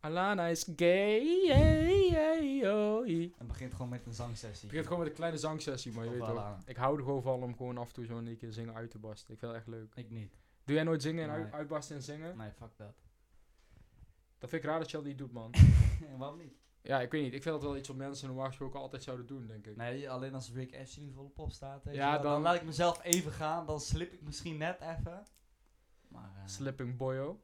Alana is gay. hey, hey, oh, hey. En begint gewoon met een zangsessie. Ik begin gewoon met een kleine zangsessie, maar je Of weet wel toch. aan. Ik hou er gewoon van om gewoon af en toe zo'n keer zingen uit te barsten. Ik vind dat echt leuk. Ik niet. Doe jij nooit zingen en uit- Nee. uitbarsten en zingen? Nee, fuck dat. Dat vind ik raar dat je dat niet doet, man. Waarom niet? ja, ik weet niet. Ik vind dat wel iets wat mensen normaal gesproken altijd zouden doen, denk ik. Nee, alleen als Rick Ashley volop op staat. weet je Ja, wel, dan, dan- laat ik mezelf even gaan. Dan slip ik misschien net even. Maar eh, Slipping boyo.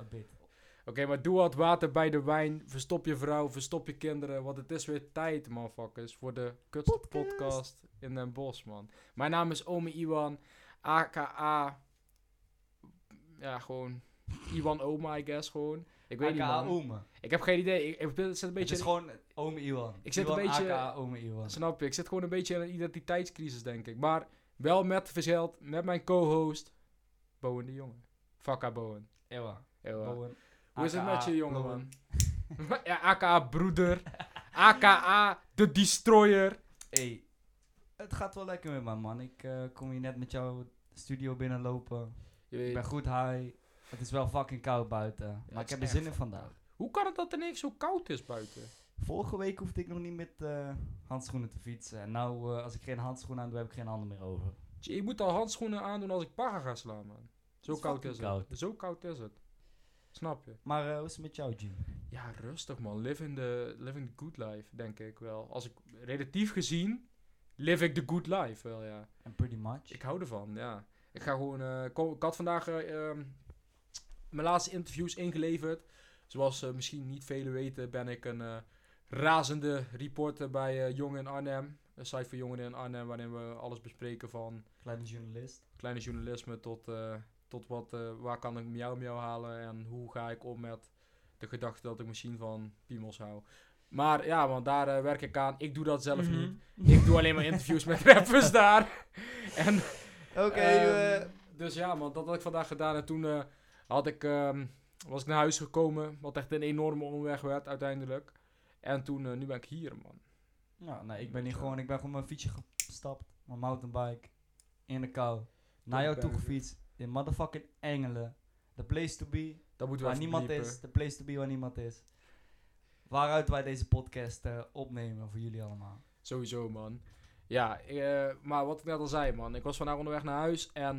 a bit. Oké, maar doe wat water bij de wijn. Verstop je vrouw, verstop je kinderen. Want het is weer tijd, manfuckers. Voor de kutste podcast, in Den Bosch, man. Mijn naam is Ome Iwan. A.K.A. Ja, gewoon... Iwan Oma, I guess, gewoon. Ik weet niet, AKA man. Ome. Ik heb geen idee. Ik, ik ben- zit een Het beetje... is gewoon Ome Iwan. Ik zit een Iwan beetje- AKA Ome Iwan. Snap je? Ik zit gewoon een beetje in een identiteitscrisis, denk ik. Maar wel met verzeld, met mijn co-host... Bowen de Jonge. Fakka Bowen. Ewa. Ewa. Bowen. Hoe is het AKA met je, jongeman? Bowen. ja, aka broeder. Aka de destroyer. Hey, het gaat wel lekker met mij, man. Ik eh, kom hier net met jouw studio binnenlopen. Je Ik weet, ben goed high. Het is wel fucking koud buiten. het maar ik is heb er echt zin in fucking vandaag. Hoe kan het dat er niks zo koud is buiten? Vorige week hoefde ik nog niet met eh, handschoenen te fietsen. En nou, eh, als ik geen handschoenen aan doe, heb ik geen handen meer over. Tje, je moet al handschoenen aandoen als ik paga ga slaan, man. Zo Het is koud fucking is koud. het. Zo koud is het. Snap je? Maar eh, hoe is het met jou, G? Ja, rustig man. Living the, living the good life, denk ik wel. Als ik relatief gezien, live ik the good life wel, ja. En pretty much. Ik hou ervan, ja. Ik ga gewoon. eh, ko- ik had vandaag eh, ehm, mijn laatste interviews ingeleverd. Zoals eh, misschien niet velen weten, ben ik een eh, razende reporter bij eh, Jongen in Arnhem. Een site voor jongeren in Arnhem, waarin we alles bespreken van Kleine journalist. kleine journalisme tot, eh, tot wat, eh, waar kan ik miauw miauw halen en hoe ga ik om met de gedachte dat ik misschien van piemels hou. Maar ja, want daar eh, werk ik aan. Ik doe dat zelf Mhm. niet. Ik doe alleen maar interviews met rappers daar. En Oké, eh, Ehm, dus ja, man, dat had ik vandaag gedaan. En toen eh, had ik, ehm, was ik naar huis gekomen, wat echt een enorme omweg werd uiteindelijk. En toen, eh, nu ben ik hier, man. nou, nee, ik ben hier gewoon. Ik ben gewoon mijn fietsje gestapt. Mijn mountainbike. In de kou. Naar de jou toe bergen. gefietst. In motherfucking Engelen. The place to be. Dat moeten we even Waar niemand bliepen. is. De place to be waar niemand is. Waaruit wij deze podcast eh, opnemen voor jullie allemaal. Sowieso, man. Ja, eh, maar wat ik net al zei, man. Ik was vandaag onderweg naar huis en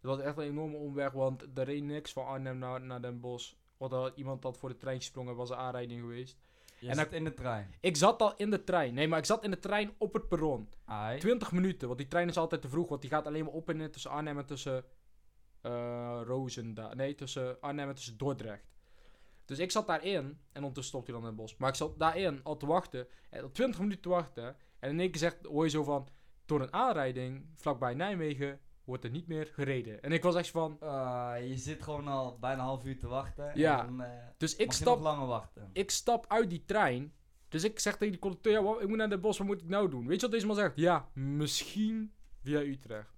het was echt een enorme omweg, want er reed niks van Arnhem naar, naar Den Bosch. Want er had iemand dat voor de trein sprongen, was een aanrijding geweest. Je En en zit in de trein. Ik zat al in de trein. Nee, maar ik zat in de trein op het perron. Ai. 20 minuten, want die trein is altijd te vroeg, want die gaat alleen maar op en neer tussen Arnhem en tussen eh Roosendaal. Nee, tussen Arnhem en tussen Dordrecht. Dus ik zat daarin, en ondertussen stopt hij dan in het bos. Maar ik zat daarin al te wachten, en al 20 minuten te wachten. En in één keer zegt, hoor je zo van, door een aanrijding vlakbij Nijmegen wordt er niet meer gereden. En ik was echt van, Ah, je zit gewoon al bijna een half uur te wachten. Ja. En, dan, eh, dus mag ik je stap, nog langer wachten. ik stap uit die trein. Dus ik zeg tegen die conducteur, ja, wa- ik moet naar Den Bosch, wat moet ik nou doen? Weet je wat deze man zegt? Ja, misschien via Utrecht.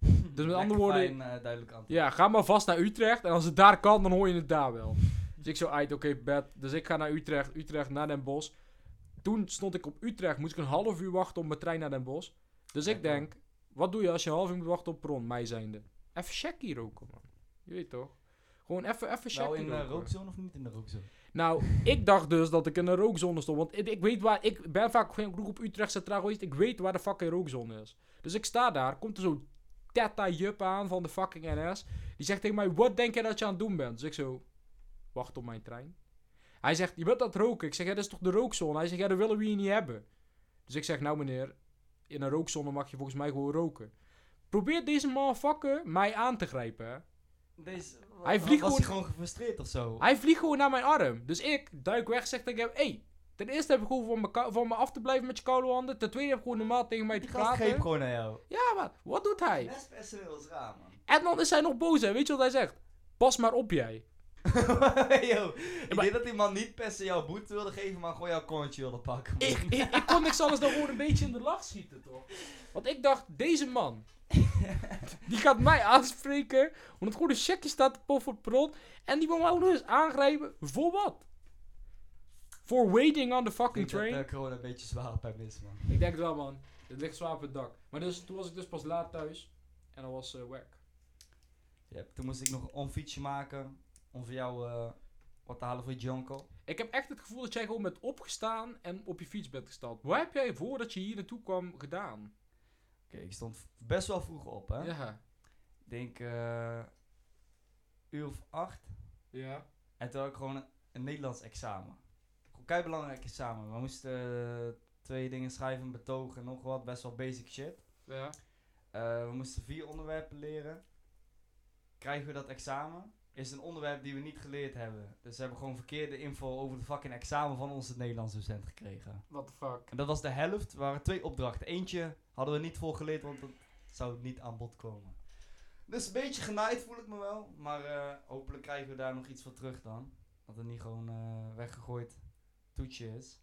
Dus andere woorden- Fijn, eh, duidelijk antwoord. Ja, ga maar vast naar Utrecht. En als het daar kan, dan hoor je het daar wel. Dus ik zo uit, oké, bed. Dus ik ga naar Utrecht, Utrecht naar Den Bosch. Toen stond ik op Utrecht, moest ik een half uur wachten op mijn trein naar Den Bosch. Dus ik Kijk dan. denk, wat doe je als je een half uur moet wachten op Pron, mij zijnde? Even checkie roken, man. Je weet toch? Gewoon even, even Nou, checkie in de roken. rookzone of niet in de rookzone? Nou, ik dacht dus dat ik in een rookzone stond. Want ik, ik weet waar, ik ben vaak geen kroeg op Utrecht Centraal geweest. Ik weet waar de fucking rookzone is. Dus ik sta daar, komt er zo'n teta jup aan van de fucking NS. Die zegt tegen mij, wat denk jij dat je aan het doen bent? Dus ik zo, wacht op mijn trein. Hij zegt, je bent aan het roken. Ik zeg, ja, dat is toch de rookzone? Hij zegt, ja, dat willen we hier niet hebben. Dus ik zeg, nou meneer, in een rookzone mag je volgens mij gewoon roken. Probeert deze motherfucker mij aan te grijpen, hè? Deze, Hij wa- vliegt was gewoon- hij gewoon gefrustreerd of zo? Hij vliegt gewoon naar mijn arm. Dus ik duik weg, zeg tegen hem: Hey, ten eerste heb ik gewoon van me, ka- van me af te blijven met je koude handen. Ten tweede heb ik gewoon normaal tegen mij te Die gast greep praten. gewoon naar jou. Ja, maar wat doet hij? Best personeel is raar, man. En dan is hij nog boos, hè? Weet je wat hij zegt? Pas maar op, jij. Yo, ik maar- denk dat die man niet per se jouw boete wilde geven, maar gewoon jouw kontje wilde pakken. man. Ik, ik, ik kon niks anders dan gewoon een beetje in de lach schieten, toch? Want ik dacht, deze man. Die gaat mij aanspreken. Omdat gewoon een checkje staat te poffen op het perron. En die wil mij ook nog eens aangrijpen. Voor wat? For waiting on the fucking Ik denk train. dat eh, corona een beetje zwaar op hem is, man. Ik denk het wel, man. Het ligt zwaar op het dak. Maar dus, toen was ik dus pas laat thuis. En dat was eh wack. Ja, toen moest ik nog een onfietsje maken om voor jou eh, wat te halen voor Jonko. Ik heb echt het gevoel dat jij gewoon bent opgestaan en op je fiets bent gestapt. Wat heb jij voordat je hier naartoe kwam gedaan? Oké, ik stond v- best wel vroeg op, hè. Ja. Ik denk eh uur of acht. Ja. En toen had ik gewoon een, een Nederlands examen. Kei belangrijk examen. We moesten eh, twee dingen schrijven, betogen en nog wat. Best wel basic shit. Ja. Eh, we moesten vier onderwerpen leren. Krijgen we dat examen? Is een onderwerp die we niet geleerd hebben. Dus we hebben gewoon verkeerde info over de fucking examen van onze Nederlands docent gekregen. What the fuck. En dat was de helft. Er waren twee opdrachten. Eentje hadden we niet vol geleerd, want dat zou niet aan bod komen. Dus een beetje genaaid voel ik me wel. Maar eh, hopelijk krijgen we daar nog iets van terug dan. Dat het niet gewoon eh, weggegooid toetje is.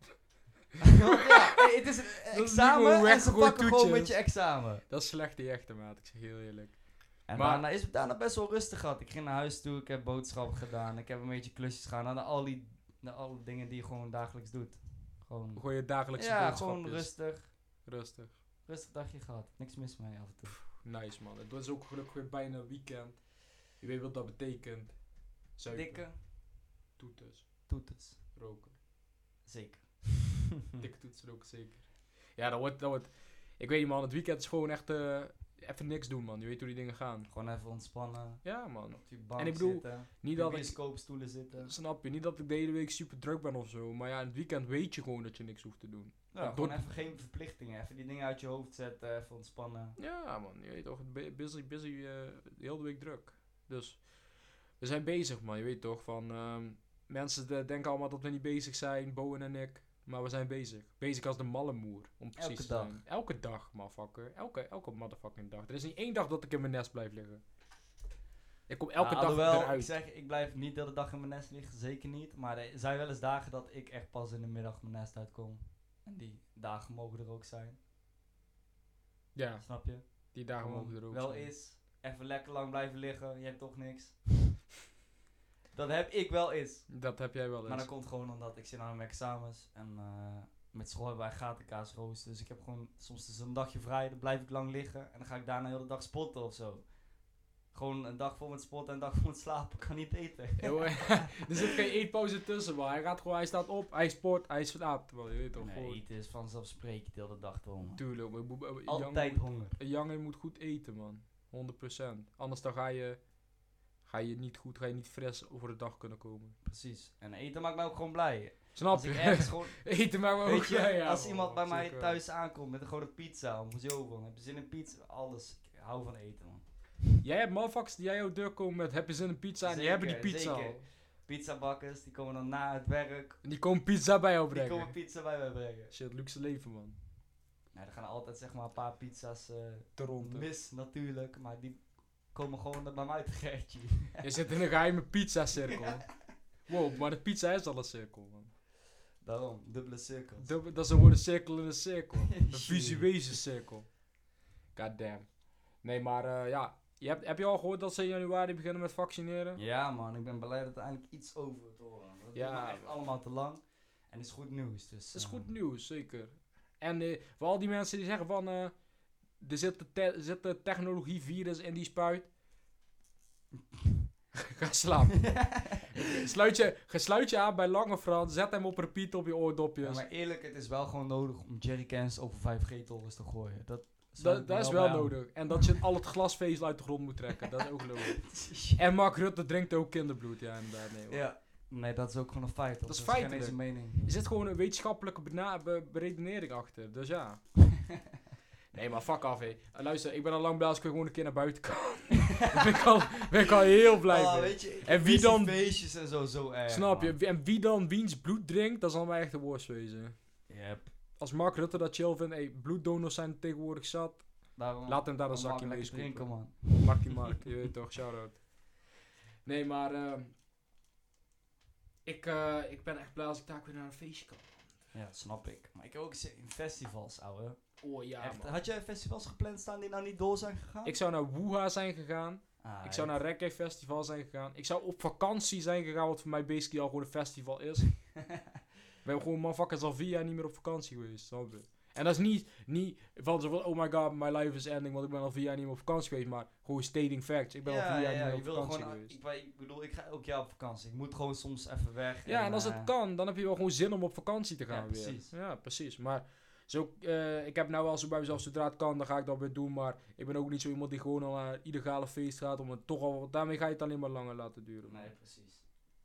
Want ja, hey, het is is een niet examen gewoon en ze weggegooid pakken gewoon toetje met je is. examen. Dat is slechte echte maat, ik zeg heel eerlijk. En Maar- daarna is het daarna best wel rustig gehad. Ik ging naar huis toe, ik heb boodschappen gedaan, ik heb een beetje klusjes gedaan. Naar al die naar alle dingen die je gewoon dagelijks doet. Gewoon, Gewoon je dagelijkse ja, boodschapjes. gewoon rustig. Rustig. Rustig dagje gehad. Niks mis mee af en toe. Nice man. Het was ook gelukkig weer bijna een weekend. Je weet wat dat betekent. Zuipen, Dikke toeters, toeters. roken. Zeker. Dikke toeters roken zeker. Ja, dat wordt, dat wordt... Ik weet niet man, het weekend is gewoon echt... eh, even niks doen man, je weet hoe die dingen gaan. Gewoon even ontspannen. Ja man. Op je bank En ik bedoel, zitten. Niet op dat je ik... bioscoopstoelen zitten. Snap je, niet dat ik de hele week super druk ben of zo. Maar ja, in het weekend weet je gewoon dat je niks hoeft te doen. Ja, door- gewoon even geen verplichtingen. Even die dingen uit je hoofd zetten. Even ontspannen. Ja, man. Je weet toch, bu- busy, busy, eh, de hele week druk. Dus we zijn bezig, man. Je weet toch, van ehm, mensen de- denken allemaal dat we niet bezig zijn, Bowen en ik. Maar we zijn bezig. Bezig als de malle moer, om precies Elke te dag. zijn. Elke dag, motherfucker. Elke, elke motherfucking dag. Er is niet één dag dat ik in mijn nest blijf liggen. Ik kom elke Nou, dag alhoewel, eruit. ik zeg, ik blijf niet de hele dag in mijn nest liggen, zeker niet. Maar er zijn wel eens dagen dat ik echt pas in de middag mijn nest uitkom. En die dagen mogen er ook zijn, Ja, snap je? die dagen Gewoon mogen er ook Wel zijn. eens, even lekker lang blijven liggen, je hebt toch niks. dat heb ik wel eens. Dat heb jij wel Maar dat eens. komt gewoon omdat ik zit aan mijn examens en eh, met school hebben wij gatenkaas roosten. Dus ik heb gewoon soms dus een dagje vrij, dan blijf ik lang liggen en dan ga ik daarna heel de dag spotten of zo. Gewoon een dag vol met spotten en een dag vol met slapen, kan niet eten. Yo, er zit geen eetpauze tussen, maar hij gaat gewoon, hij staat op, hij sport, hij slaapt. Man, je weet toch, Nee, gewoon. eten is vanzelfsprekend de hele dag te honger. Tuurlijk, maar boe- eh, Altijd Janger, honger. moet- Janger moet goed eten, man. 100%. Anders dan ga je, ga je niet goed, ga je niet fris over de dag kunnen komen. Precies. En eten maakt mij ook gewoon blij. Snap Als je? ik ergens gewoon... eten maar maar Weet ook je, blij, ja, als man, iemand bij mij zeker. thuis aankomt met een grote pizza, of zo van, heb je zin in pizza? Alles. Ik hou van eten, man. Jij hebt motherfuckers die jij jouw deur komen met, heb je zin in pizza? en die Zeker, hebben die pizza zeker. al. Pizzabakkers, die komen dan na het werk. En die komen pizza bij jou Die brengen. komen pizza bij mij brengen. Shit, luxe leven, man. Nou, er gaan altijd zeg maar een paar pizza's eh, Toronto. mis, natuurlijk. Maar die komen gewoon er bij mij te gertje. Je zit in een geheime pizza-cirkel. Wow, maar de pizza is al een cirkel, man. Daarom, dubbele cirkels. Dubbel- Dat is gewoon een cirkel in een cirkel. Een Shit. visueuze cirkel. God damn. Nee, maar eh, ja. Je hebt, heb je al gehoord dat ze in januari beginnen met vaccineren? Ja, man, ik ben blij dat er eindelijk iets over te horen. Dat Ja, ja, echt man. allemaal te lang. En het is goed nieuws. Dus, Dat is eh, goed nieuws, zeker. En eh, voor al die mensen die zeggen van... eh, er zit de, te- zit de technologie virus in die spuit. Ga slapen. sluit, je, ga- sluit je aan bij Lange Frans. Zet hem op repeat op je ja, oordopjes. maar eerlijk, het is wel gewoon nodig om jerrycans over 5G-torens te gooien. Dat sluit dat, me dat is wel bij aan. nodig. En dat je al het glasvezel uit de grond moet trekken. Dat is ook nodig. En Mark Rutte drinkt ook kinderbloed, ja, inderdaad. Nee, hoor. ja. Nee, dat is ook gewoon een feit. hoor. Dat is geen eens een mening. Er zit gewoon een wetenschappelijke bena- be- beredenering achter, dus ja. nee, maar fuck af, hé. Eh, Luister, ik ben al lang blij als ik weer gewoon een keer naar buiten kan. Daar ben, ik al, ben ik al heel blij Ah, mee. weet je, ik En mis wie die dan- feestjes en zo, zo erg. Snap je? man. Wie- En wie dan wiens bloed drinkt, dat zal mij echt de worst wezen. Yep. Als Mark Rutte dat chill vindt, hey, bloeddonors zijn tegenwoordig zat. Daarom Laat hem daar een daarom zakje mag ik mee lekker drinken, scopen. man. Mark die Mark, je weet toch, shout-out. Nee, maar... ehm, ik, eh, ik ben echt blij als ik daar ook weer naar een feestje kan. Ja, snap ik. Maar ik heb ook zin in festivals, ouwe. Oh ja, echt, man. had jij festivals gepland staan die nou niet door zijn gegaan? Ik zou naar Wuha zijn gegaan. Ah, Ik zou nou- naar Reggae Festival zijn gegaan. Ik zou op vakantie zijn gegaan, wat voor mij basically al gewoon een festival is. We hebben gewoon motherfuckers al vier jaar niet meer op vakantie geweest, snap je? En dat is niet, niet van zo van, oh my god, my life is ending, want ik ben al vier jaar niet meer op vakantie geweest. Maar gewoon stating facts. Ik ben al vier jaar niet meer je op wil vakantie gewoon, geweest. ik, maar ik bedoel, ik ga elk jaar op vakantie. Ik moet gewoon soms even weg. Ja, en als eh, het kan, dan heb je wel gewoon zin om op vakantie te Ja, gaan weer. precies. Ja, precies. Maar zo, eh, ik heb nou wel zo bij mezelf, zodra het kan, dan ga ik dat weer doen. Maar ik ben ook niet zo iemand die gewoon al naar illegale feest gaat. Om het toch al, want daarmee ga je het alleen maar langer laten duren. Nee, precies.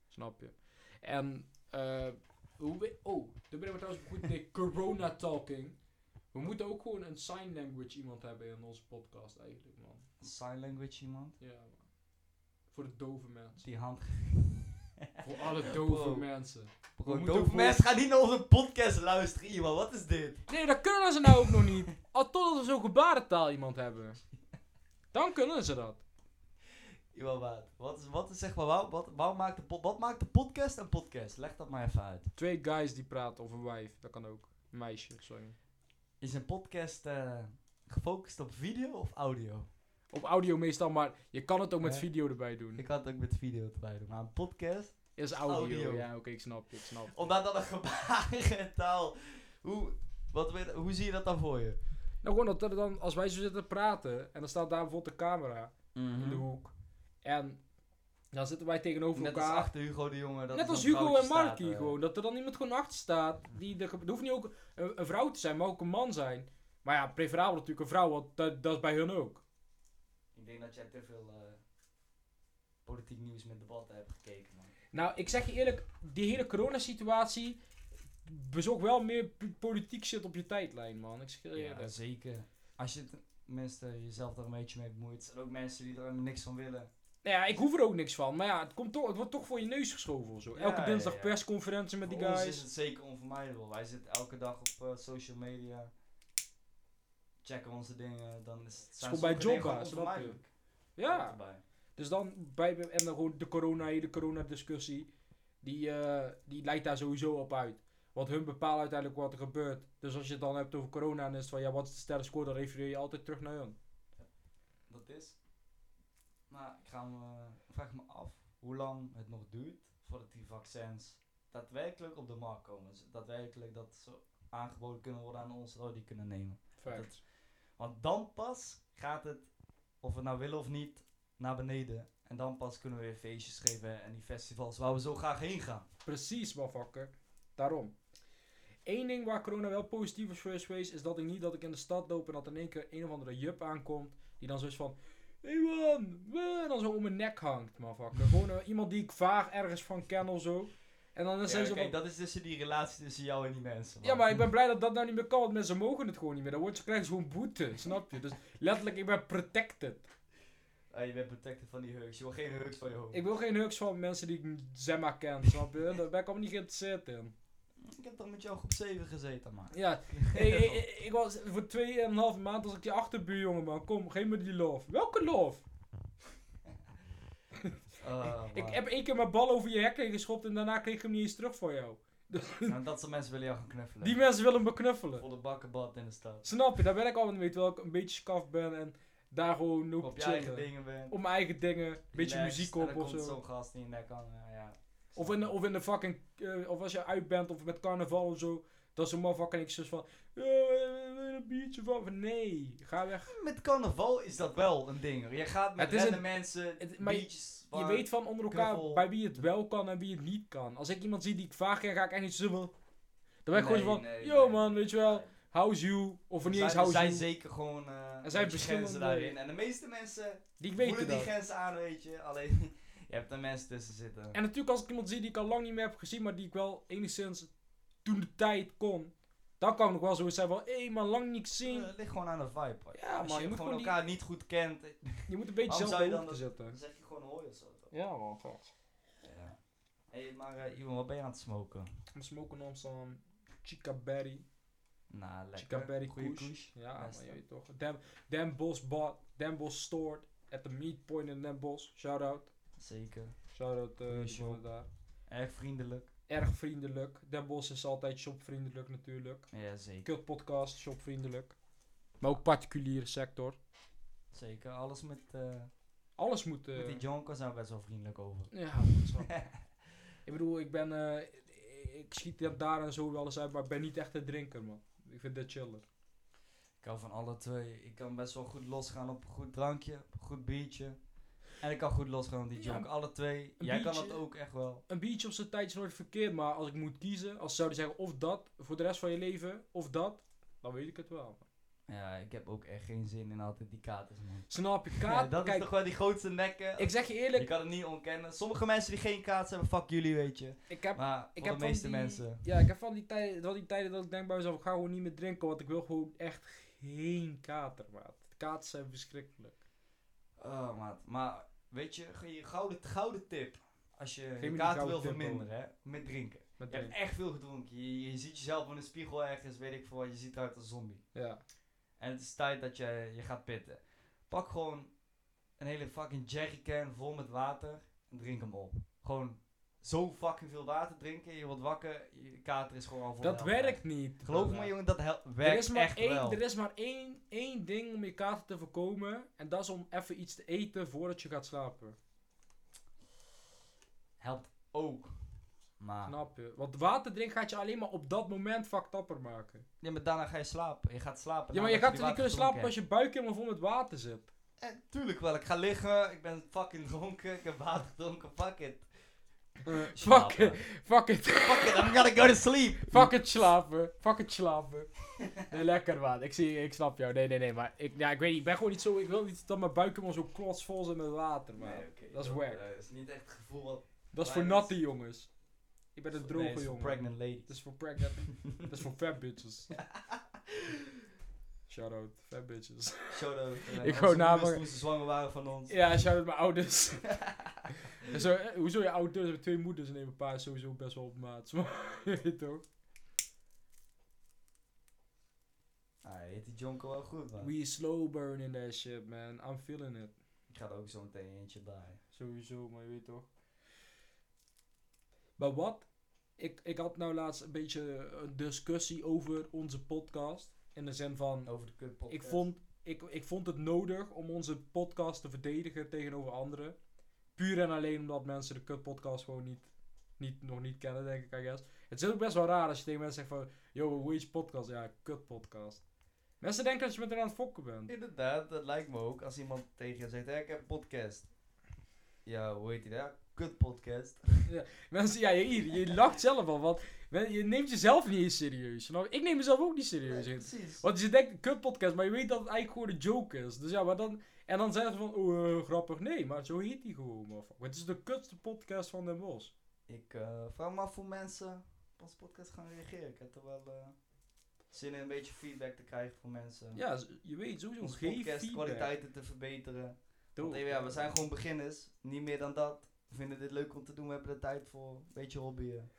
Snap je? En, eh, hoe we- oh, toen ben ik me trouwens goed in corona talking. We moeten ook gewoon een sign language iemand hebben in onze podcast eigenlijk, man. Sign language iemand. Ja, man. Voor de dove mensen. Die hand. Voor alle dove Wow. mensen. Bro, moeten doof voor- mensen gaan niet naar onze podcast luisteren, iemand. Wat is dit? Nee, dat kunnen ze nou ook nog niet. Al totdat we zo'n gebarentaal iemand hebben. Dan kunnen ze dat. Iemand, wat? Wat is, wat is zeg maar, wat, wat, waarom maakt de pod- wat maakt de podcast een podcast? Leg dat maar even uit. Twee guys die praten of een wijf, dat kan ook. Een meisje, sorry. Is een podcast eh, gefocust op video of audio? Op audio meestal, maar je kan het ook met Ja. video erbij doen. Ik had het ook met video erbij doen, maar een podcast. Is audio. Audio. Ja, oké, ik snap, ik snap. Omdat dat een gebarentaal. Hoe, wat, weet- hoe zie je dat dan voor je? Nou, gewoon dat er dan, als wij zo zitten te praten en dan staat daar bijvoorbeeld de camera in de hoek. En dan zitten wij tegenover Mhm. Net als elkaar. achter Hugo de Jonge. Dat Net er als zo'n Hugo en vrouwtje Marky staat, eh. gewoon. Dat er dan iemand gewoon achter staat. Die er, ge- er hoeft niet ook een, een vrouw te zijn, maar ook een man zijn. Maar ja, preferabel natuurlijk een vrouw, want dat, dat is bij hun ook. Ik denk dat jij te veel eh, politiek nieuws met debatten hebt gekeken, man. Nou, ik zeg je eerlijk, die hele coronasituatie bezorgt wel meer pu- politiek shit op je tijdlijn, man. Ik zeg je eerlijk. Ja, zeker. Als je tenminste jezelf daar een beetje mee bemoeit. Er zijn ook mensen die er helemaal niks van willen. Nou ja, ik hoef er ook niks van. Maar ja, het, komt toch, het wordt toch voor je neus geschoven of zo. Ja, Elke ja, dinsdag ja. persconferentie met die Voor ons guys. is het zeker onvermijdelijk. Wij zitten elke dag op eh, social media. Checken onze dingen. Dan is het zijn gewoon bij sommige dingen Jogga, gewoon snap je? onvermijdelijk. Hoort Ja, erbij. dus dan bij, en dan gewoon de corona, hele corona-discussie. Die, eh, die leidt daar sowieso op uit. Want hun bepalen uiteindelijk wat er gebeurt. Dus als je het dan hebt over corona en is het van ja, wat is de status quo, dan refereer je altijd terug naar hun. Dat is. Maar ik ga me, ik vraag me af hoe lang het nog duurt voordat die vaccins daadwerkelijk op de markt komen. Dus daadwerkelijk dat ze aangeboden kunnen worden aan ons, dat we die kunnen nemen. Fact. Want dan pas gaat het, of we het nou willen of niet, naar beneden. En dan pas kunnen we weer feestjes geven en die festivals waar we zo graag heen gaan. Precies, motherfucker. Daarom. Eén ding waar corona wel positief is geweest, geweest, is dat ik niet dat ik in de stad loop en dat in één keer een of andere jup aankomt. Die dan zo is van, hey man, man," en dan zo om mijn nek hangt, motherfucker. Gewoon eh, iemand die ik vaag ergens van ken of zo. En dan Ja, is hij zo kijk, van, dat is tussen die relatie tussen jou en die mensen. ja man. maar ik ben blij dat dat nou niet meer kan, want mensen mogen het gewoon niet meer. Dan wordt ze krijgen ze gewoon boete, snap je? Dus letterlijk, ik ben protected. Ah, je bent protected van die hugs. Je wil geen hugs van je hoofd. Ik wil geen hugs van mensen die ik zeg maar ken, snap je? Daar ben ik allemaal niet geïnteresseerd in. Ik heb dan met jou groep 7 gezeten, man. Ja, ik, ik, ik- ik was voor 2,5 maand was ik die achterbuurjongen, man. Kom, geef me die love. Welke love? Ah, Ik man. heb één keer mijn bal over je hek heen geschopt en daarna kreeg ik hem niet eens terug van jou. Nou, dat soort mensen willen jou gaan knuffelen. Die mensen willen me knuffelen. Volle bakkenbad in de stad. Snap je? Daar ben ik altijd mee, terwijl ik een beetje skaf ben en daar gewoon op, Op je chillen. eigen dingen bent. Op mijn eigen dingen, een beetje relaxed, muziek en op dan of komt zo. zo'n gast in je nek aan. Ja, ja. Of in, de- of in de fucking, eh, of als je uit bent of met carnaval of zo. Dat zo'n motherfucker en ik zus van, "Yo, eh, wil je een biertje van. Nee, ga weg. Mm, Met carnaval is dat wel een ding. hoor. Je gaat met Het is random een- mensen, het- maar je- beaches, Je bar. weet van onder elkaar knuffel. bij wie het wel kan en wie het niet kan. Als ik iemand zie die ik vaag ken, ga ik echt niet zo van... Dan ben ik Nee, gewoon zo van, nee, yo nee. man, weet je wel, how's you? Of Er niet eens zijn- how's er you. zijn zeker gewoon eh Er zijn een beetje grenzen verschillende- daarin. En de meeste mensen die ik voelen weet die dat. grenzen aan, weet je. Alleen, je hebt er mensen tussen zitten. En natuurlijk als ik iemand zie die ik al lang niet meer heb gezien, maar die ik wel enigszins toen de tijd kon. Dan kan ik nog wel zoiets zijn van, hé man, lang niet gezien. Eh, het ligt gewoon aan de vibe. hoor. Ja, Als man, je je moet gewoon gewoon die- elkaar niet goed kent, eh, je moet een beetje waarom zelf zou je bij dan te dan zetten. zeg je gewoon hoi of zo. toch? Ja man, gast. Ja. Hey, maar eh Iwan, wat ben je aan het smoken? I'm smoking on some chica berry. Nou, lekker. Chica berry Goeie kush. kush. Ja man, Beste. je weet toch. Dan, Dan Bos bought, Dan Bos stored at the meat point in Den Bos. Shout out. Zeker. Shout-out eh, Goeie die shop. mannen daar. Erg vriendelijk. Erg vriendelijk. Den Bos is altijd shopvriendelijk natuurlijk. Ja, zeker. Kut podcast, shopvriendelijk. Maar ook particuliere sector. Zeker. Alles met, eh Alles moet... eh, met die Jonko zijn we best wel vriendelijk over. ja, dat snap ik. ik bedoel, ik ben... eh, ik schiet dat daar en zo wel eens uit, maar ik ben niet echt een drinker, man. Ik Ik vind dit chiller. Ik hou van alle twee. Ik kan best wel goed losgaan op een goed drankje, op een goed biertje. En ik kan goed losgaan op die Ja, junk. Alle twee. een Jij kan biertje. dat ook echt wel. Een biertje op zijn tijd is nooit verkeerd, maar als ik moet kiezen, als ze zouden zeggen of dat voor de rest van je leven, of dat, dan weet ik het wel. Ja, ik heb ook echt geen zin in altijd die katers, man. Snap je? Ja, Kaart, dat is kijk, toch wel die grootste nekken. ik zeg je eerlijk, je kan het niet ontkennen. Sommige mensen die geen kaats hebben, fuck jullie, weet je. ik heb Maar ik voor heb de van meeste die- mensen. Ja, ik heb van die, tijden, van die tijden dat ik denk bij mezelf, ik ga gewoon niet meer drinken, want ik wil gewoon echt geen kater, maat. Katers zijn verschrikkelijk. Oh, maat. Maar weet je, ge- je gouden, gouden tip. Als je me je die kater gouden wil tip, verminderen, hè, met drinken. Met Je hebt drinken. echt veel gedronken. Je, je ziet jezelf in de spiegel ergens, weet ik veel wat. Je ziet eruit als een zombie. Ja. En het is tijd dat je je gaat pitten. Pak gewoon een hele fucking jerrycan vol met water en drink hem op. Gewoon zo fucking veel water drinken. Je wordt wakker, je kater is gewoon al voor de Dat helft werkt niet. weg. Geloof brother. me jongen, dat hel- Er werkt is, maar echt één, wel. er is maar één, één ding om je kater te voorkomen. En dat is om even iets te eten voordat je gaat slapen. Helpt ook. Maar, Snap je? Want water drinken gaat je alleen maar op dat moment fucked upper maken. ja, maar daarna ga je slapen. Je gaat slapen. Ja, maar je nadat gaat die er niet kunnen water slapen als je buik helemaal vol met water zit. gedronken hebt. Eh, tuurlijk wel, ik ga liggen. Ik ben fucking dronken. Ik heb water gedronken. Fuck it. Eh, fuck, Slapen. it, fuck it, Fuck it, I'm gonna go to sleep. fuck it slapen, fuck it slapen. Nee, lekker man, ik, zie, ik snap jou. Nee, nee, nee, maar ik, ja, ik weet niet, ik ben gewoon niet zo, ik wil niet dat mijn buik helemaal zo klotsvol zit met water, man. dat is wack. Dat is niet echt het gevoel wat Dat is voor Nee, natte jongens. Ik ben een Nee, droge het is voor jongen. Pregnant lady. Dat is voor pregnant. dat is voor fat bitches. Shout out, fat bitches. Shout out. Ik gewoon namelijk- Toen ze zwanger waren van ons. Ja, shout out mijn ouders. En zo, eh, hoezo je ouders hebben twee moeders en een pa is sowieso best wel op maat. Maar, je weet toch? Ah, hij heet die jonko wel goed, man. We slow burning that shit, man. I'm feeling it. Ik ga er ook zo meteen eentje bij. Sowieso, maar je weet toch. Maar wat? Ik, ik had nou laatst een beetje een discussie over onze podcast. In de zin van, Over de kutpot. ik vond, ik, ik vond het nodig om onze podcast te verdedigen tegenover anderen. Puur en alleen omdat mensen de kutpodcast gewoon niet, niet, nog niet kennen, denk ik, I guess. Het is ook best wel raar als je tegen mensen zegt van... Yo, hoe is je podcast? Ja, kutpodcast. Mensen denken dat je met hen aan het fokken bent. Inderdaad, dat lijkt me ook. Als iemand tegen je zegt, hé, ik heb een podcast. Ja, hoe heet die nou? daar? Kutpodcast. Mensen, ja, je, hier, je lacht zelf al, want men- je neemt jezelf niet eens serieus. snap je? Ik neem mezelf ook niet serieus. in. precies. Want je denkt, kut podcast, maar je weet dat het eigenlijk gewoon een joke is. Dus ja, maar dan... En dan zeggen ze van, oh, eh, grappig. Nee, maar zo heet die gewoon, motherfucker. Het is de kutste podcast van Den Bosch. Ik eh, vraag me af hoe mensen op onze podcast gaan reageren. Ik heb er wel eh, zin in een beetje feedback te krijgen van mensen. Ja, z- je weet sowieso, Onze geef podcast feedback. kwaliteiten te verbeteren. Doe. Want, eh, ja, we zijn gewoon beginners. Niet meer dan dat. We vinden dit leuk om te doen. We hebben er tijd voor. Een beetje hobbyen.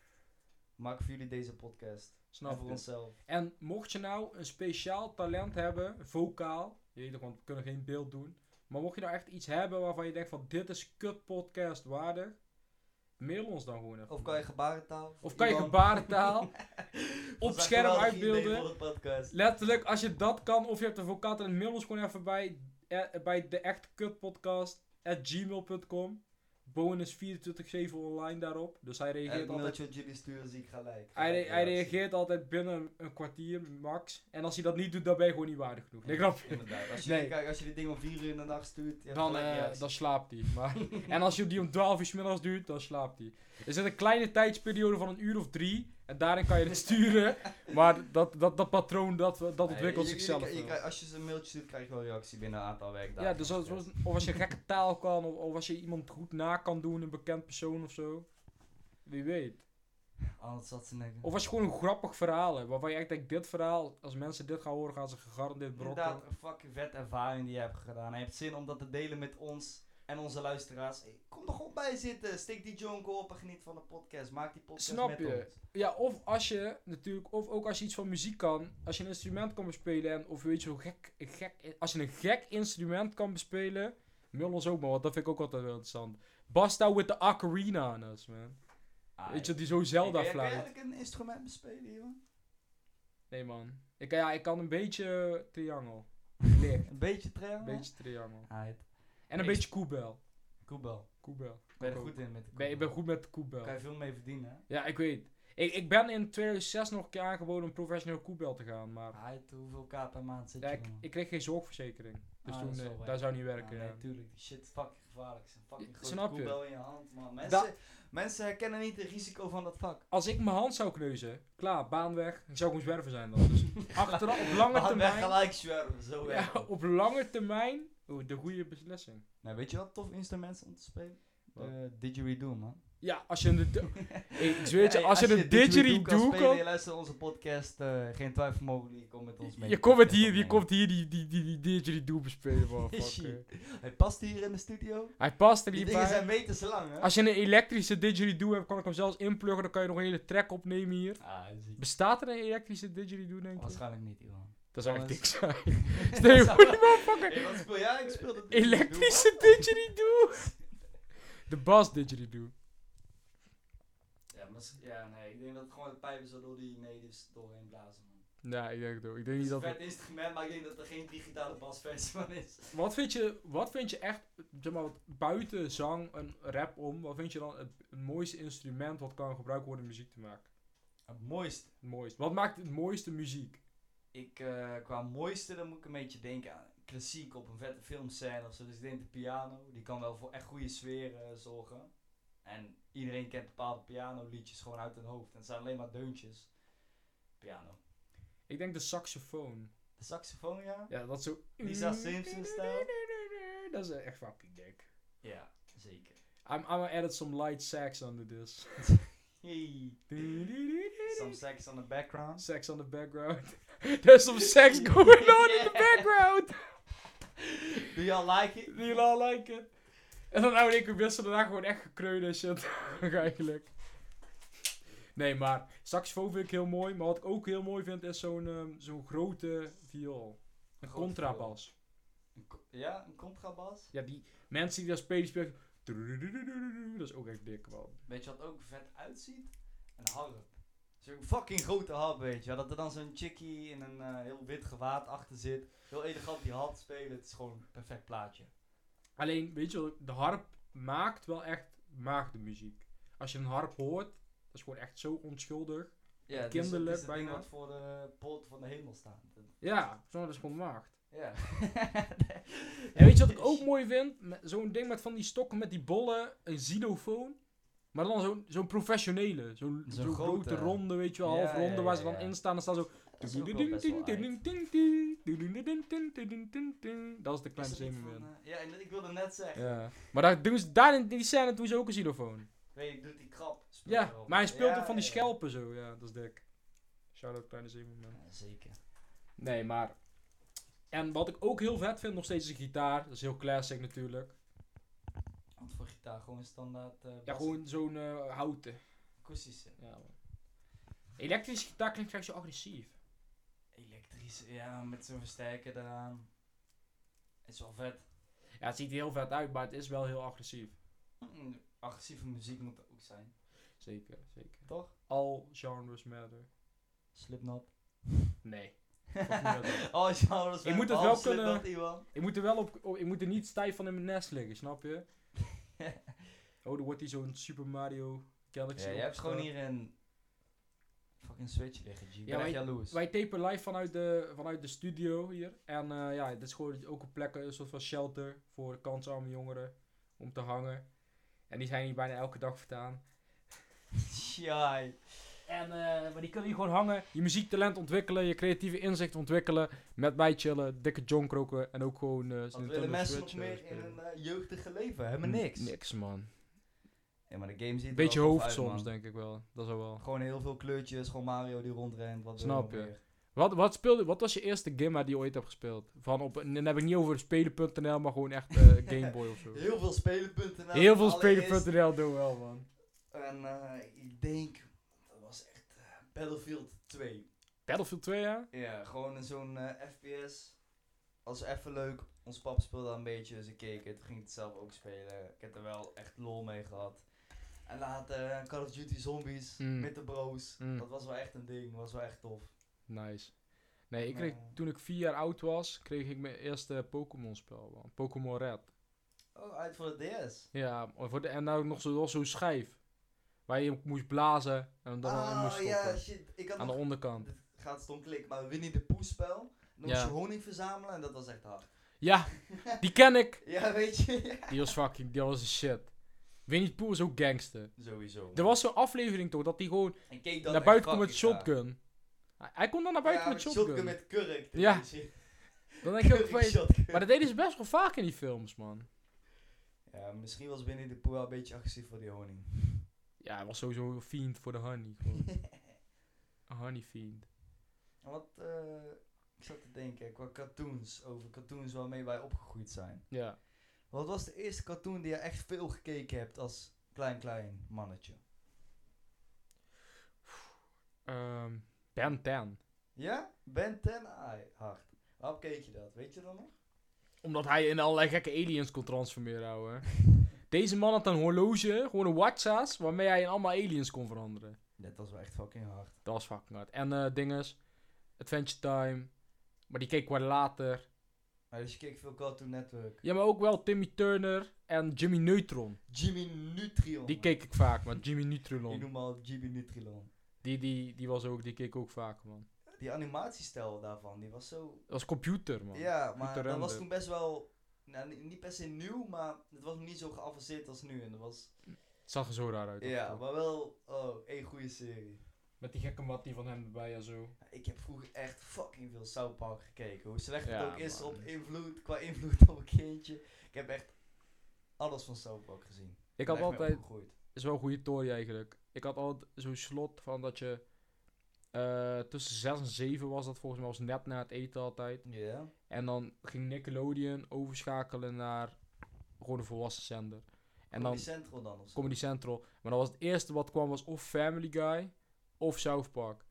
Maak voor jullie deze podcast. en Snap voor je? onszelf. En mocht je nou een speciaal talent hebben, vocaal, je weet toch, want we kunnen geen beeld doen. Maar mocht je nou echt iets hebben waarvan je denkt van, dit is kut podcast waardig, mail ons dan gewoon even. Of kan je gebarentaal? Of kan je Iemand- gebarentaal? Dat is een scherm geweldig uitbeelden? idee voor een podcast. Letterlijk, als je dat kan, of je hebt een vocaal talent, mail ons gewoon even bij, eh, bij de echte kut podcast at gmail.com. Bowen is 24-7 online daarop, dus hij En reageert het altijd mailtje wat jullie sturen zie ik gelijk. Hij, re- Gelijk hij reactie. reageert altijd binnen een kwartier, max. En als hij dat niet doet, dan ben je gewoon niet waardig genoeg. Nee, grapje. Inderdaad. Als je, Nee. die- kijk, als je die ding om 4 uur in de nacht stuurt. je hebt Dan, gelijk eh, reactie. dan slaapt hij. Maar... en als je die om 12 uur 's middags duurt, dan slaapt hij. Er zit een kleine tijdsperiode van een uur of drie. En daarin kan je het sturen. Maar dat, dat, dat patroon, dat, dat Nee, ontwikkelt je- je- je- zichzelf. je- je- wel. krijgt- als je ze een mailtje stuurt, krijg je wel een reactie binnen een aantal werkdagen. ja, dus als, als- of als je gekke taal kan, of, of als je iemand goed na kan doen, een bekend persoon of zo. Wie weet. Anders zat ze denken. Of als je gewoon een grappig verhaal hebt, waarvan je echt denkt, dit verhaal, als mensen dit gaan horen, gaan ze gegarandeerd brokken. Inderdaad, een fucking vet ervaring die je hebt gedaan. Hij heeft zin om dat te delen met ons en onze luisteraars. Hey, kom er gewoon bij zitten. Steek die jonko op en geniet van de podcast. Maak die podcast Snap met je? ons. Ja, of als je natuurlijk, of ook als je iets van muziek kan, als je een instrument kan bespelen en of weet je zo gek, een gek, als je een gek instrument kan bespelen, mail ons ook maar, want dat vind ik ook altijd wel interessant. Basta with the ocarina on us, man. Ah, Weet je, die zo Zelda Hey, kan je fluit. eigenlijk een instrument bespelen, jongen? Nee man, ik, kan- ja, ik kan een beetje eh, triangel. Nee, Een beetje trainen? een beetje triangel. Aight. En een Ik- beetje koebel. Koebel. Koebel. Ben je er Ook. goed in met de Ben, ik ben koebel? goed met Kan koebel. je veel mee verdienen, hè? Ja, ik weet. Ik, ik ben in 2006 nog een keer aangeboden om professioneel koebel te gaan, maar Uit, hoeveel k per maand zit ja, je ik, dan? ik kreeg geen zorgverzekering. Dus Ah, toen, dat is eh, wel dat, waar. zou niet Ja, werken. ja. nee, tuurlijk. Die shit is fucking gevaarlijk. Het is een fucking Ja, grote snap je? koebel in je hand, man. Mensen, mensen herkennen niet het risico van dat vak. Als ik mijn hand zou kneuzen, klaar, baan weg. Ik zou gewoon zwerven zijn dan. Dus achteraf, op lange Laat mij termijn... Ah, gelijk zwerven, zo Ja, werkt het. op lange termijn oh, de goede beslissing. Nou, weet je wat tof instrument is om te spelen? Wat? Eh, didgeridoo, man. Ja, als je een... di- Hey, ik zweer het je, Hey, als je een didgeridoo kan spelen, kan... je luistert onze podcast, eh, geen twijfel mogelijk, je komt met ons mee. Je komt met hier, je komt hier die, die, die, die didgeridoo bespelen, man. Shit. fuck, eh. Hij past hier in de studio. Hij past er Die niet dingen zijn bij. meters lang, hè? Als je een elektrische didgeridoo hebt, kan ik hem zelfs inpluggen. Dan kan je nog een hele track opnemen hier. Ah, dat is iets- Bestaat er een elektrische didgeridoo, denk je? Waarschijnlijk niet, Iwan. Dat zou echt Jongens. dik zijn. Stel je voor, die Hey, wat speel jij? Ik speel dat didgeridoo. elektrische didgeridoo. De bas didgeridoo. Ja, maar s- ja, nee, ik denk dat het gewoon de pijpen zo door die nedives doorheen blazen, man. Nou, ik denk het ook. Ik denk Het niet is een dat... vet instrument, maar ik denk dat er geen digitale basversie van is. Wat vind je, wat vind je echt, zeg maar, wat buiten zang en rap om, wat vind je dan het, het mooiste instrument wat kan gebruikt worden om muziek te maken? Het mooiste. Het mooiste. Wat maakt het mooiste muziek? Ik, eh, qua mooiste, dan moet ik een beetje denken aan klassiek op een vette filmscène of zo. Dus ik denk de piano, die kan wel voor echt goede sfeer eh, zorgen. En iedereen kent bepaalde pianoliedjes gewoon uit hun hoofd. En het zijn alleen maar deuntjes. Piano. Ik denk de saxofoon. De saxofoon, ja? Ja, dat zo... Lisa Simpson-stijl? Dat is echt fucking dik. Ja, zeker. I'm, I'm gonna add some light sax under this. Hey. Some sax on the background. Sax on the background. There's some sax going on in the background. Do y'all like it? Do you all like it? En dan nou en ik wisselen daarna gewoon echt gekreund en shit. Eigenlijk. Nee, maar saxofoon vind ik heel mooi. Maar wat ik ook heel mooi vind is zo'n ehm, zo'n grote viool. Een Grote contrabas. Een co- Ja, een contrabas. Ja, die mensen die dat spelen, spelen... Dat is ook echt dik, man. Weet je wat ook vet uitziet? Een harp. Zo'n fucking grote harp, weet je. wel. Dat er dan zo'n chickie in een eh, heel wit gewaad achter zit. Heel elegant die harp spelen. Het is gewoon een perfect plaatje. Alleen, weet je wel, de harp maakt wel echt maagdenmuziek. Als je een harp hoort, dat is gewoon echt zo onschuldig. Ja, het Kinderlijk is, het is het ding bijna. wat voor de poort van de hemel staat. Ja, zo, dat is gewoon maagd. Ja. En weet je wat ik ook mooi vind? Met Zo'n ding met van die stokken met die bollen, een xylofoon. Maar dan zo'n zo'n professionele. Zo'n Zo'n zo'n grote, grote. ronde, weet je wel, Ja, half ronde ja, waar ja, ze dan ja. in staan. Dan staan zo... Dat is ook wel best wel uit. Dat is de kleine Is er niet zeemermin. van, eh, Ja, ik ik wilde net zeggen. Ja. Maar daar, doen ze, daar in die scène doen ze ook een xylofoon. Weet je, doet die krap. speelt Ja, erop. maar hij speelt Ja, ook van die ja, ja. schelpen zo. Ja, dat is dik. Shout-out kleine zeemermin. Ja, zeker. Nee, maar. En wat ik ook heel vet vind, nog steeds is de gitaar. Dat is heel classic natuurlijk. Want voor gitaar gewoon standaard. eh, Ja, bas- gewoon zo'n eh, houten. Akoestische. Ja, man. Elektrische gitaar klinkt echt zo agressief. Elektrische, ja, met zo'n versterker eraan. Is wel vet. Ja, het ziet er heel vet uit, maar het is wel heel agressief. Mm, Agressieve muziek moet er ook zijn. Zeker, zeker. Toch? All genres matter. Slipknot. Nee. Fuck me dat. Oh, genres. Ik moet het wel Slipknot, Iwan. ik moet er wel op, op- ik moet er niet stijf van in mijn nest liggen, snap je? Oh, dan wordt hij zo'n Super Mario Galaxy. Ja, je hebt opgestart. gewoon hier een fucking switch liggen, G. Ik ben maar echt je- jaloers. Wij tapen live vanuit de, vanuit de studio hier. En eh, ja, dit is gewoon ook een plek, een soort van shelter voor kansarme jongeren om te hangen. En die zijn hier bijna elke dag vandaan. Sjai. En, eh, maar die kunnen hier gewoon hangen, je muziektalent ontwikkelen, je creatieve inzicht ontwikkelen. Met mij chillen, dikke jong roken en ook gewoon... eh Wat Nintendo willen Mm, mensen nog Switch, eh, meer in spelen. hun eh, jeugdige leven? Hebben niks. Niks man. Ja, maar de game ziet Een er beetje wel tof hoofd uit, soms man. denk ik wel. Dat is wel wel. Gewoon heel veel kleurtjes, gewoon Mario die rondrent. Wat wil Snap nog je. meer? Wat, wat, speelde, wat was je eerste Gimma die je ooit hebt gespeeld? Van op, en dan heb ik niet over spelen.nl, maar gewoon echt eh Gameboy of zo. Heel veel spelen.nl. Heel veel nou, allereerst. spelen.nl doen wel, man. En eh, ik denk, dat was echt eh, Battlefield 2. Battlefield 2, ja? Ja, gewoon in zo'n eh, FPS. Als even leuk. Ons pap speelde daar een beetje, dus ik keek het. Ging het zelf ook spelen. Ik heb er wel echt lol mee gehad. En later eh, Call of Duty Zombies Mm. met de bros. Mm. Dat was wel echt een ding. was wel echt tof. Nice. Nee, ik En, kreeg, eh, toen ik vier jaar oud was, kreeg ik mijn eerste Pokémon-spel, man. Pokémon Red. Oh, uit voor de DS. Ja, maar voor de, en nou nog zo- nog zo'n schijf. Waar je moest blazen en dan erin moest Ah, stoppen. ja, shit. Ik had Aan de nog... onderkant. Dit gaat stom klik, maar Winnie de Pooh spel. En Dan Ja. moest je honing verzamelen en dat was echt hard. Ja, die ken ik. Ja, weet je. Die was fucking, die was een shit. Winnie the Pooh is ook gangster. Sowieso. Er was zo'n aflevering toch, dat hij gewoon En keek dan naar echt buiten komt met fucking raar. shotgun. Hij, hij kon dan naar buiten ja, met shotgun. met kurk. Ja. Dan denk je ook van, Kurk shotgun. Maar dat deden ze best wel vaak in die films, man. Ja, misschien was Winnie de Pooh wel een beetje agressief voor die honing. Ja, hij was sowieso een fiend voor de honey. gewoon. Een honey fiend. En wat, eh, ik zat te denken, qua cartoons, over cartoons waarmee wij opgegroeid zijn. Ja. Wat was de eerste cartoon die je echt veel gekeken hebt als klein klein mannetje? Ehm ben 10. Ja? Ben 10 Ai, hard. Waarop keek je dat? Weet je dat nog? Omdat hij in allerlei gekke aliens kon transformeren, ouwe. Deze man had een horloge, gewoon een watchas, waarmee hij in allemaal aliens kon veranderen. Dat was wel echt fucking hard. Dat was fucking hard. En eh dinges, Adventure Time. Maar die keek wat later. Maar dus je keek veel Cartoon Network. Ja, maar ook wel Timmy Turner en Jimmy Neutron. Jimmy Nutrilon. Die keek ik vaak, man. Jimmy Ik Neutron. noem al Jimmy Nutrilon. Die... Die, die, die, was ook, die keek ik ook vaak, man. animatiestijl daarvan, die was zo... Dat was computer, man. ja, maar Computer dat was render. toen best wel... Nou, ni- niet per se nieuw, maar het was niet zo geavanceerd als nu. En dat was... Het zag er zo raar uit. Ja, toch? maar wel... Oh, één goede serie. Met die gekke mattie van hem erbij en zo. Ik heb vroeger echt fucking veel South Park gekeken. Hoe slecht Ja, het ook is man. op invloed, qua invloed op een kindje. Ik heb echt alles van South Park gezien. Ik had Ben echt mee altijd, opgegroeid. is wel een goede tory eigenlijk. Ik had altijd zo'n slot van dat je eh, tussen 6 en 7 was dat volgens mij, was net na het eten altijd. Ja. En dan ging Nickelodeon overschakelen naar gewoon een volwassen zender. En Comedy dan Central dan of zo. Oh, Comedy Central. Maar dan was het eerste wat kwam was of Family Guy of South Park.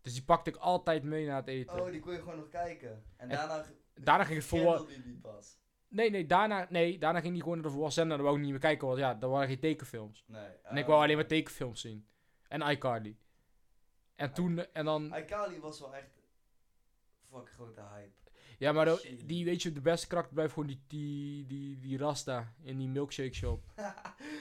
Dus die pakte ik altijd mee na het eten. Oh, die kon je gewoon nog kijken. En, daarna Daarna ging het volwassen. kende die die pas. Nee, nee, daarna, nee, daarna ging die gewoon naar de volwassen zender. En dan wou ik niet meer kijken, want ja, daar waren geen tekenfilms. Nee. oh. En ik wou alleen maar tekenfilms zien. En iCarly. En toen, eh, en dan... Aikali was wel echt fucking grote hype. Ja, maar dan- Shit. die, weet je, de beste karakter blijft gewoon die, die, die, die Rasta in die milkshake shop.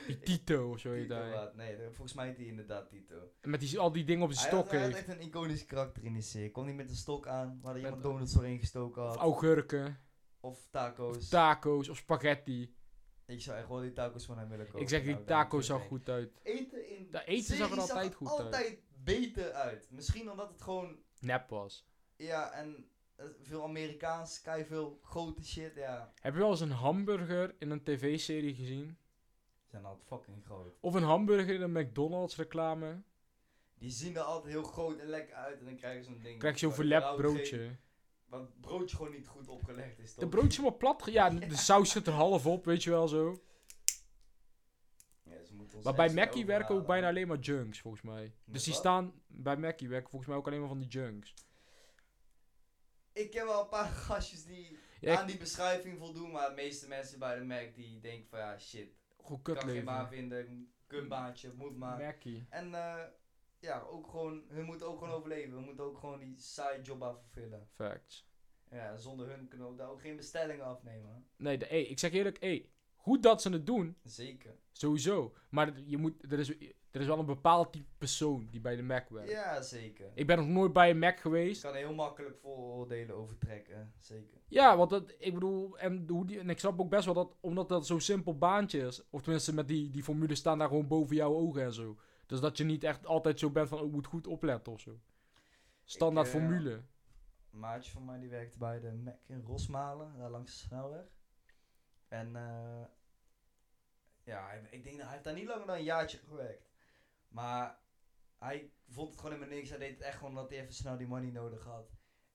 Die Tito of zo heet Tito hij. had- nee, eh, volgens mij heet die inderdaad Tito. En Met die, al die dingen op zijn Hij had, stok hij had heeft. echt een iconisch karakter in die serie. Kwam hij met een stok aan, waar hij Met- iemand donuts doorheen gestoken Of had. augurken, Of taco's. of taco's, of spaghetti. Ik zou echt wel die tacos van hem willen kopen. Ik zeg, die Nou, daar taco moet je zag mee. goed uit. Eten in De eten zag er series altijd goed uit. altijd beter uit. Misschien omdat het gewoon... Nep was. Ja, en eh, veel Amerikaans, kei veel grote shit, ja. Heb je wel eens een hamburger in een tv-serie gezien? Zijn altijd fucking groot. Of een hamburger in een McDonald's reclame? Die zien er altijd heel groot en lekker uit en dan krijgen ze zo'n ding. Krijg je zo'n Waar verlept überhaupt geen- broodje. Waar het broodje gewoon niet goed opgelegd is, toch? De broodje maar plat. ge- Ja, de de saus zit er half op, weet je wel zo. Ja, ze moeten ons Maar bij extra Mackie werken ook bijna overhalen. alleen maar junks, volgens mij. Dus die wat? staan bij Mackie werken volgens mij ook alleen maar van die junks. Ik ken wel een paar gastjes die Ja, aan die beschrijving voldoen, maar de meeste mensen bij de Mac die denken van ja, shit. goed kan geen baan kutleven. vinden, kutbaantje, moet maar. Mackie. En eh, ja, ook gewoon, hun moeten ook gewoon overleven. We moeten ook gewoon die side job aan vervullen. Facts. Ja, zonder hun kunnen we daar ook geen bestellingen afnemen. Nee, de, hey, ik zeg je eerlijk, hey, goed dat ze het doen, Zeker. sowieso. Maar je moet, er, is, er is wel een bepaald type persoon die bij de Mac werkt. Ja, zeker. Ik Ik ben nog nooit bij een Mac geweest. kan er heel makkelijk vooroordelen over trekken, zeker. Ja, want dat, ik bedoel, en, hoe die, en ik snap ook best wel dat, omdat dat zo'n simpel baantje is, of tenminste met die, die formules staan daar gewoon boven jouw ogen en zo. Dus dat je niet echt altijd zo bent van, oh, ik moet goed opletten of zo. Standaard eh, formule. Een maatje van mij die werkte bij de Mac in Rosmalen, daar langs de snelweg. En eh, ja, hij- ik denk dat hij heeft daar niet langer dan een jaartje gewerkt. Maar hij vond het gewoon helemaal niks. Hij deed het echt gewoon omdat hij even snel die money nodig had.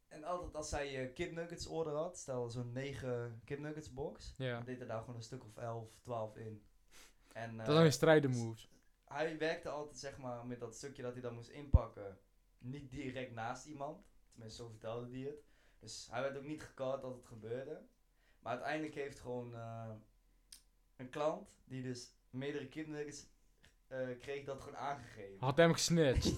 En altijd als hij eh, kipnuggets order had, stel zo'n 9 kipnuggets box, Ja. dan deed hij daar gewoon een stuk of 11, 12 in. En, dat zijn eh, geen strijden moves. hij werkte altijd, zeg maar, met dat stukje dat hij dan moest inpakken. Niet direct naast iemand. Tenminste, zo vertelde hij het. Dus hij werd ook niet gekard dat het gebeurde. Maar uiteindelijk heeft gewoon eh, een klant, die dus meerdere kidnuggets eh, kreeg, dat gewoon aangegeven. Had hem gesnitcht.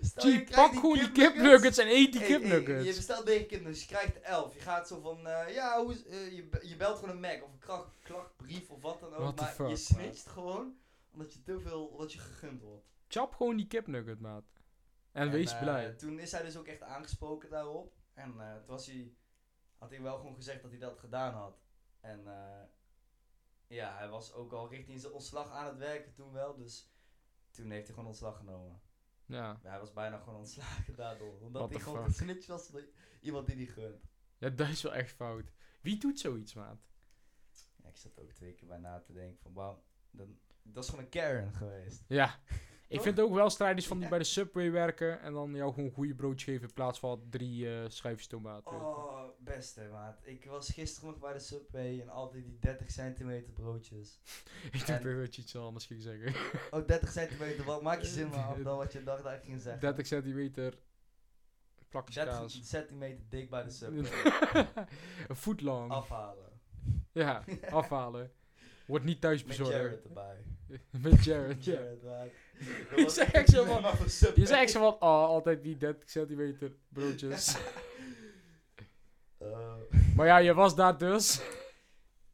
Stel, je Gee, krijgt Ah, pak die gewoon die kipnuggets. kipnuggets en eet die Hey, hey, je kipnuggets. bestelt 9 kipnuggets, je krijgt 11. Je gaat zo van, eh, ja, hoe is- eh, je, be- je belt gewoon een Mac of een kracht, klachtbrief of wat dan ook. What the maar je fuck, man. snitcht gewoon Omdat je te veel, omdat je gegund wordt. Chap gewoon die kipnugget, maat. En, En, wees eh, blij. Toen is hij dus ook echt aangesproken daarop. En eh, toen was hij, had hij wel gewoon gezegd dat hij dat gedaan had. En eh, ja, hij was ook al richting zijn ontslag aan het werken toen wel. Dus toen heeft hij gewoon ontslag genomen. Ja. Maar Hij was bijna gewoon ontslagen daardoor. Omdat What hij the gewoon fuck? gesnitcht was door iemand die die gunt. ja, dat is wel echt fout. Wie doet zoiets, maat? Ja, ik zat er ook twee keer bij na te denken van wauw, dat, dat is gewoon een Karen geweest. Ja. Ik Toch? vind ook wel strijders van die Ja. bij de Subway werken en dan jou gewoon goede broodjes geven in plaats van drie eh schijfjes tomaat. weet je. Oh, beste maat. Ik was gisteren nog bij de Subway en altijd die 30 centimeter broodjes. Ik dacht dat je iets anders ging zeggen. Oh, 30 centimeter, wat maak je zin maar af dan wat je dacht dat ik ging zeggen. 30 centimeter plakjes 30 kaas. centimeter dik bij de Subway. Een voet lang. Afhalen. Ja, afhalen. Wordt niet thuis Met bezorgd. Jared erbij. Met Jared, ja. Jared, maat. Dat Je was zegt echt zo alleen van- maar voor Subway. Je zegt zo van, oh, altijd die 30 centimeter broodjes. Eh, maar ja, je was daar dus.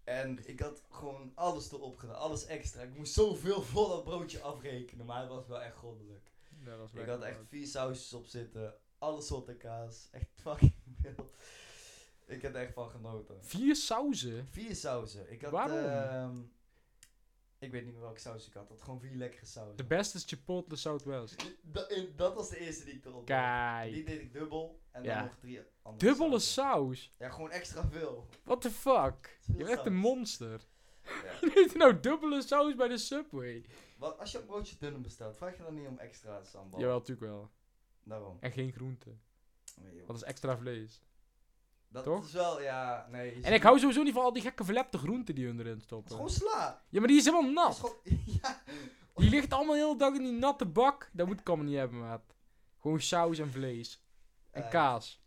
En ik had gewoon alles erop gedaan, alles extra. Ik moest zoveel voor dat broodje afrekenen, maar het was wel echt goddelijk. Ja, dat was Ik wel had echt echt fout. vier sausjes op zitten, alle soorten kaas, echt fucking veel. Ik heb er echt van genoten. Vier sauzen? Vier sauzen. Ik had, Waarom? ehm, ik weet niet meer welke saus ik had, ik had gewoon vier lekkere sauzen. De beste is Chipotle Southwest. Dat, en dat was de eerste die ik erop deed. Die Kijk. deed ik dubbel en Ja. dan nog drie andere Dubbele sauzen. saus? Ja, gewoon extra veel. What the fuck? Veel Je bent echt saus. een monster. Ja. Je eet nou dubbele saus bij de Subway. Wat, als je een broodje dunner bestelt, vraag je dan niet om extra sambal? Jawel, natuurlijk wel. Daarom. En geen groente. Nee, joh. Dat is extra vlees. Dat Toch? is wel, ja, nee. je En ik ziet- hou sowieso niet van al die gekke verlepte groenten die hun erin Het is stoppen. gewoon sla. Ja, maar die is helemaal Het is nat. gewoon, ja. Die ligt allemaal de hele dag in die natte bak. Dat moet ik allemaal niet hebben, maat. Gewoon saus en vlees. En Eh, kaas.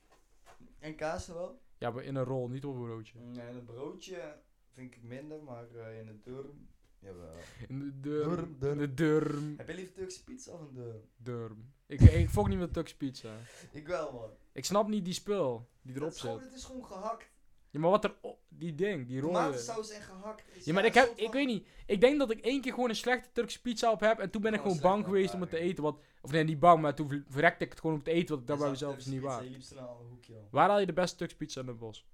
En kaas er wel. Ja, maar in een rol, niet op een broodje. Nee, en een broodje vind ik minder, maar eh, in een durm. Jawel. In de durm. Durm, durm. In de durm. Heb je liever Turkse pizza of een durm? Durm. Ik, ik volg niet met Tux Pizza. Ik wel, man. Ik snap niet die spul die Dat erop is gewoon, zit. het is gewoon gehakt. Ja, maar wat er... op- Die ding, die rol. Tomatensaus en gehakt. is Ja, maar ik, een heb, soort van- ik weet niet. Ik denk dat ik één keer gewoon een slechte Turkse pizza op heb. En toen ben Kan ik wel gewoon slecht bang zijn, geweest ja, om het te ja. eten. Want, of nee, niet bang, maar toen ver- verrekte ik het gewoon om te eten. Want ik Je dat bij zag mezelf is Turkse niet pizza, waar. Je liep ze naar een hoekje om. Waar haal je de beste Turkse pizza in de bos?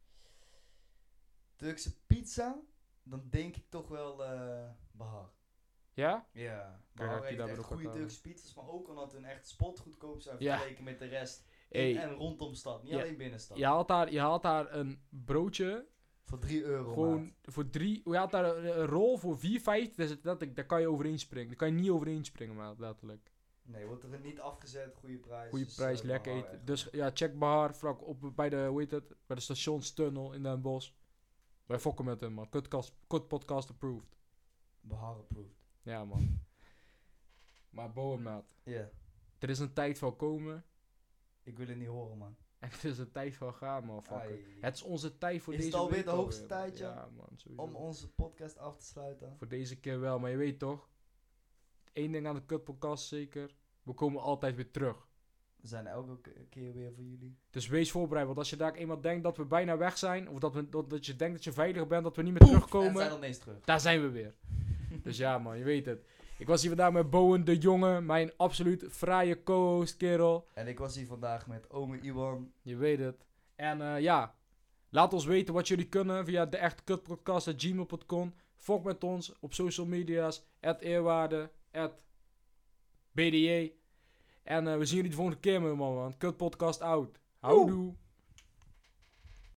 Turkse pizza, dan denk ik toch wel eh Bahar. Ja? Ja, Kijk, Bahar had ik heeft daar echt weer op goede gekomen. Turkse pizzas, maar ook omdat hun echt spotgoedkoop zijn Ja. vergeleken met de rest. Hey, En rondom stad, niet Ja. alleen binnenstad. je, haalt daar, je haalt daar een broodje. Voor 3 euro. Gewoon maat. voor drie. Je haalt daar een, een rol voor 4,50. Daar, zit- dat- daar kan je overheen springen. Daar kan je niet overheen springen, maat, letterlijk. Nee, wordt er niet afgezet, goede prijs. Goede dus, prijs, eh, lekker behaal eten. echt. Dus ja, check Bahar vlak op bij de, hoe heet het? Bij de stationstunnel in Den Bosch. Wij fokken met hem, man. Kutkast- Kut podcast approved. Behar approved. Ja, man. Maar Bowen, maat. Ja, Er is een tijd van komen ik wil het niet horen, man. en er is een tijd van gaan, man. Fucker. Ai. Het is onze tijd voor Is deze het alweer week de hoogste alweer, man. tijd, ja? Ja, man. Sowieso. Om onze podcast af te sluiten. Voor deze keer wel, maar je weet toch? Eén ding aan de kutpodcast zeker. We komen altijd weer terug. We zijn er elke ke- keer weer voor jullie. Dus wees voorbereid, want als je daar eenmaal denkt dat we bijna weg zijn, of dat, we, dat, dat je denkt dat je veiliger bent, dat we niet meer En zijn terugkomen, dan eens terug. daar zijn we weer. dus ja, man, je weet het. Ik was hier vandaag met Bowen de Jonge, mijn absoluut fraaie co-host, kerel. En ik was hier vandaag met ome Iwan. Je weet het. En eh, ja, laat ons weten wat jullie kunnen via de echte kutpodcast.gmail.com. Volg met ons op social media's. At Eerwaarde, at BDA. En eh, we zien jullie de volgende keer, man. man. Kutpodcast out. Houdoe.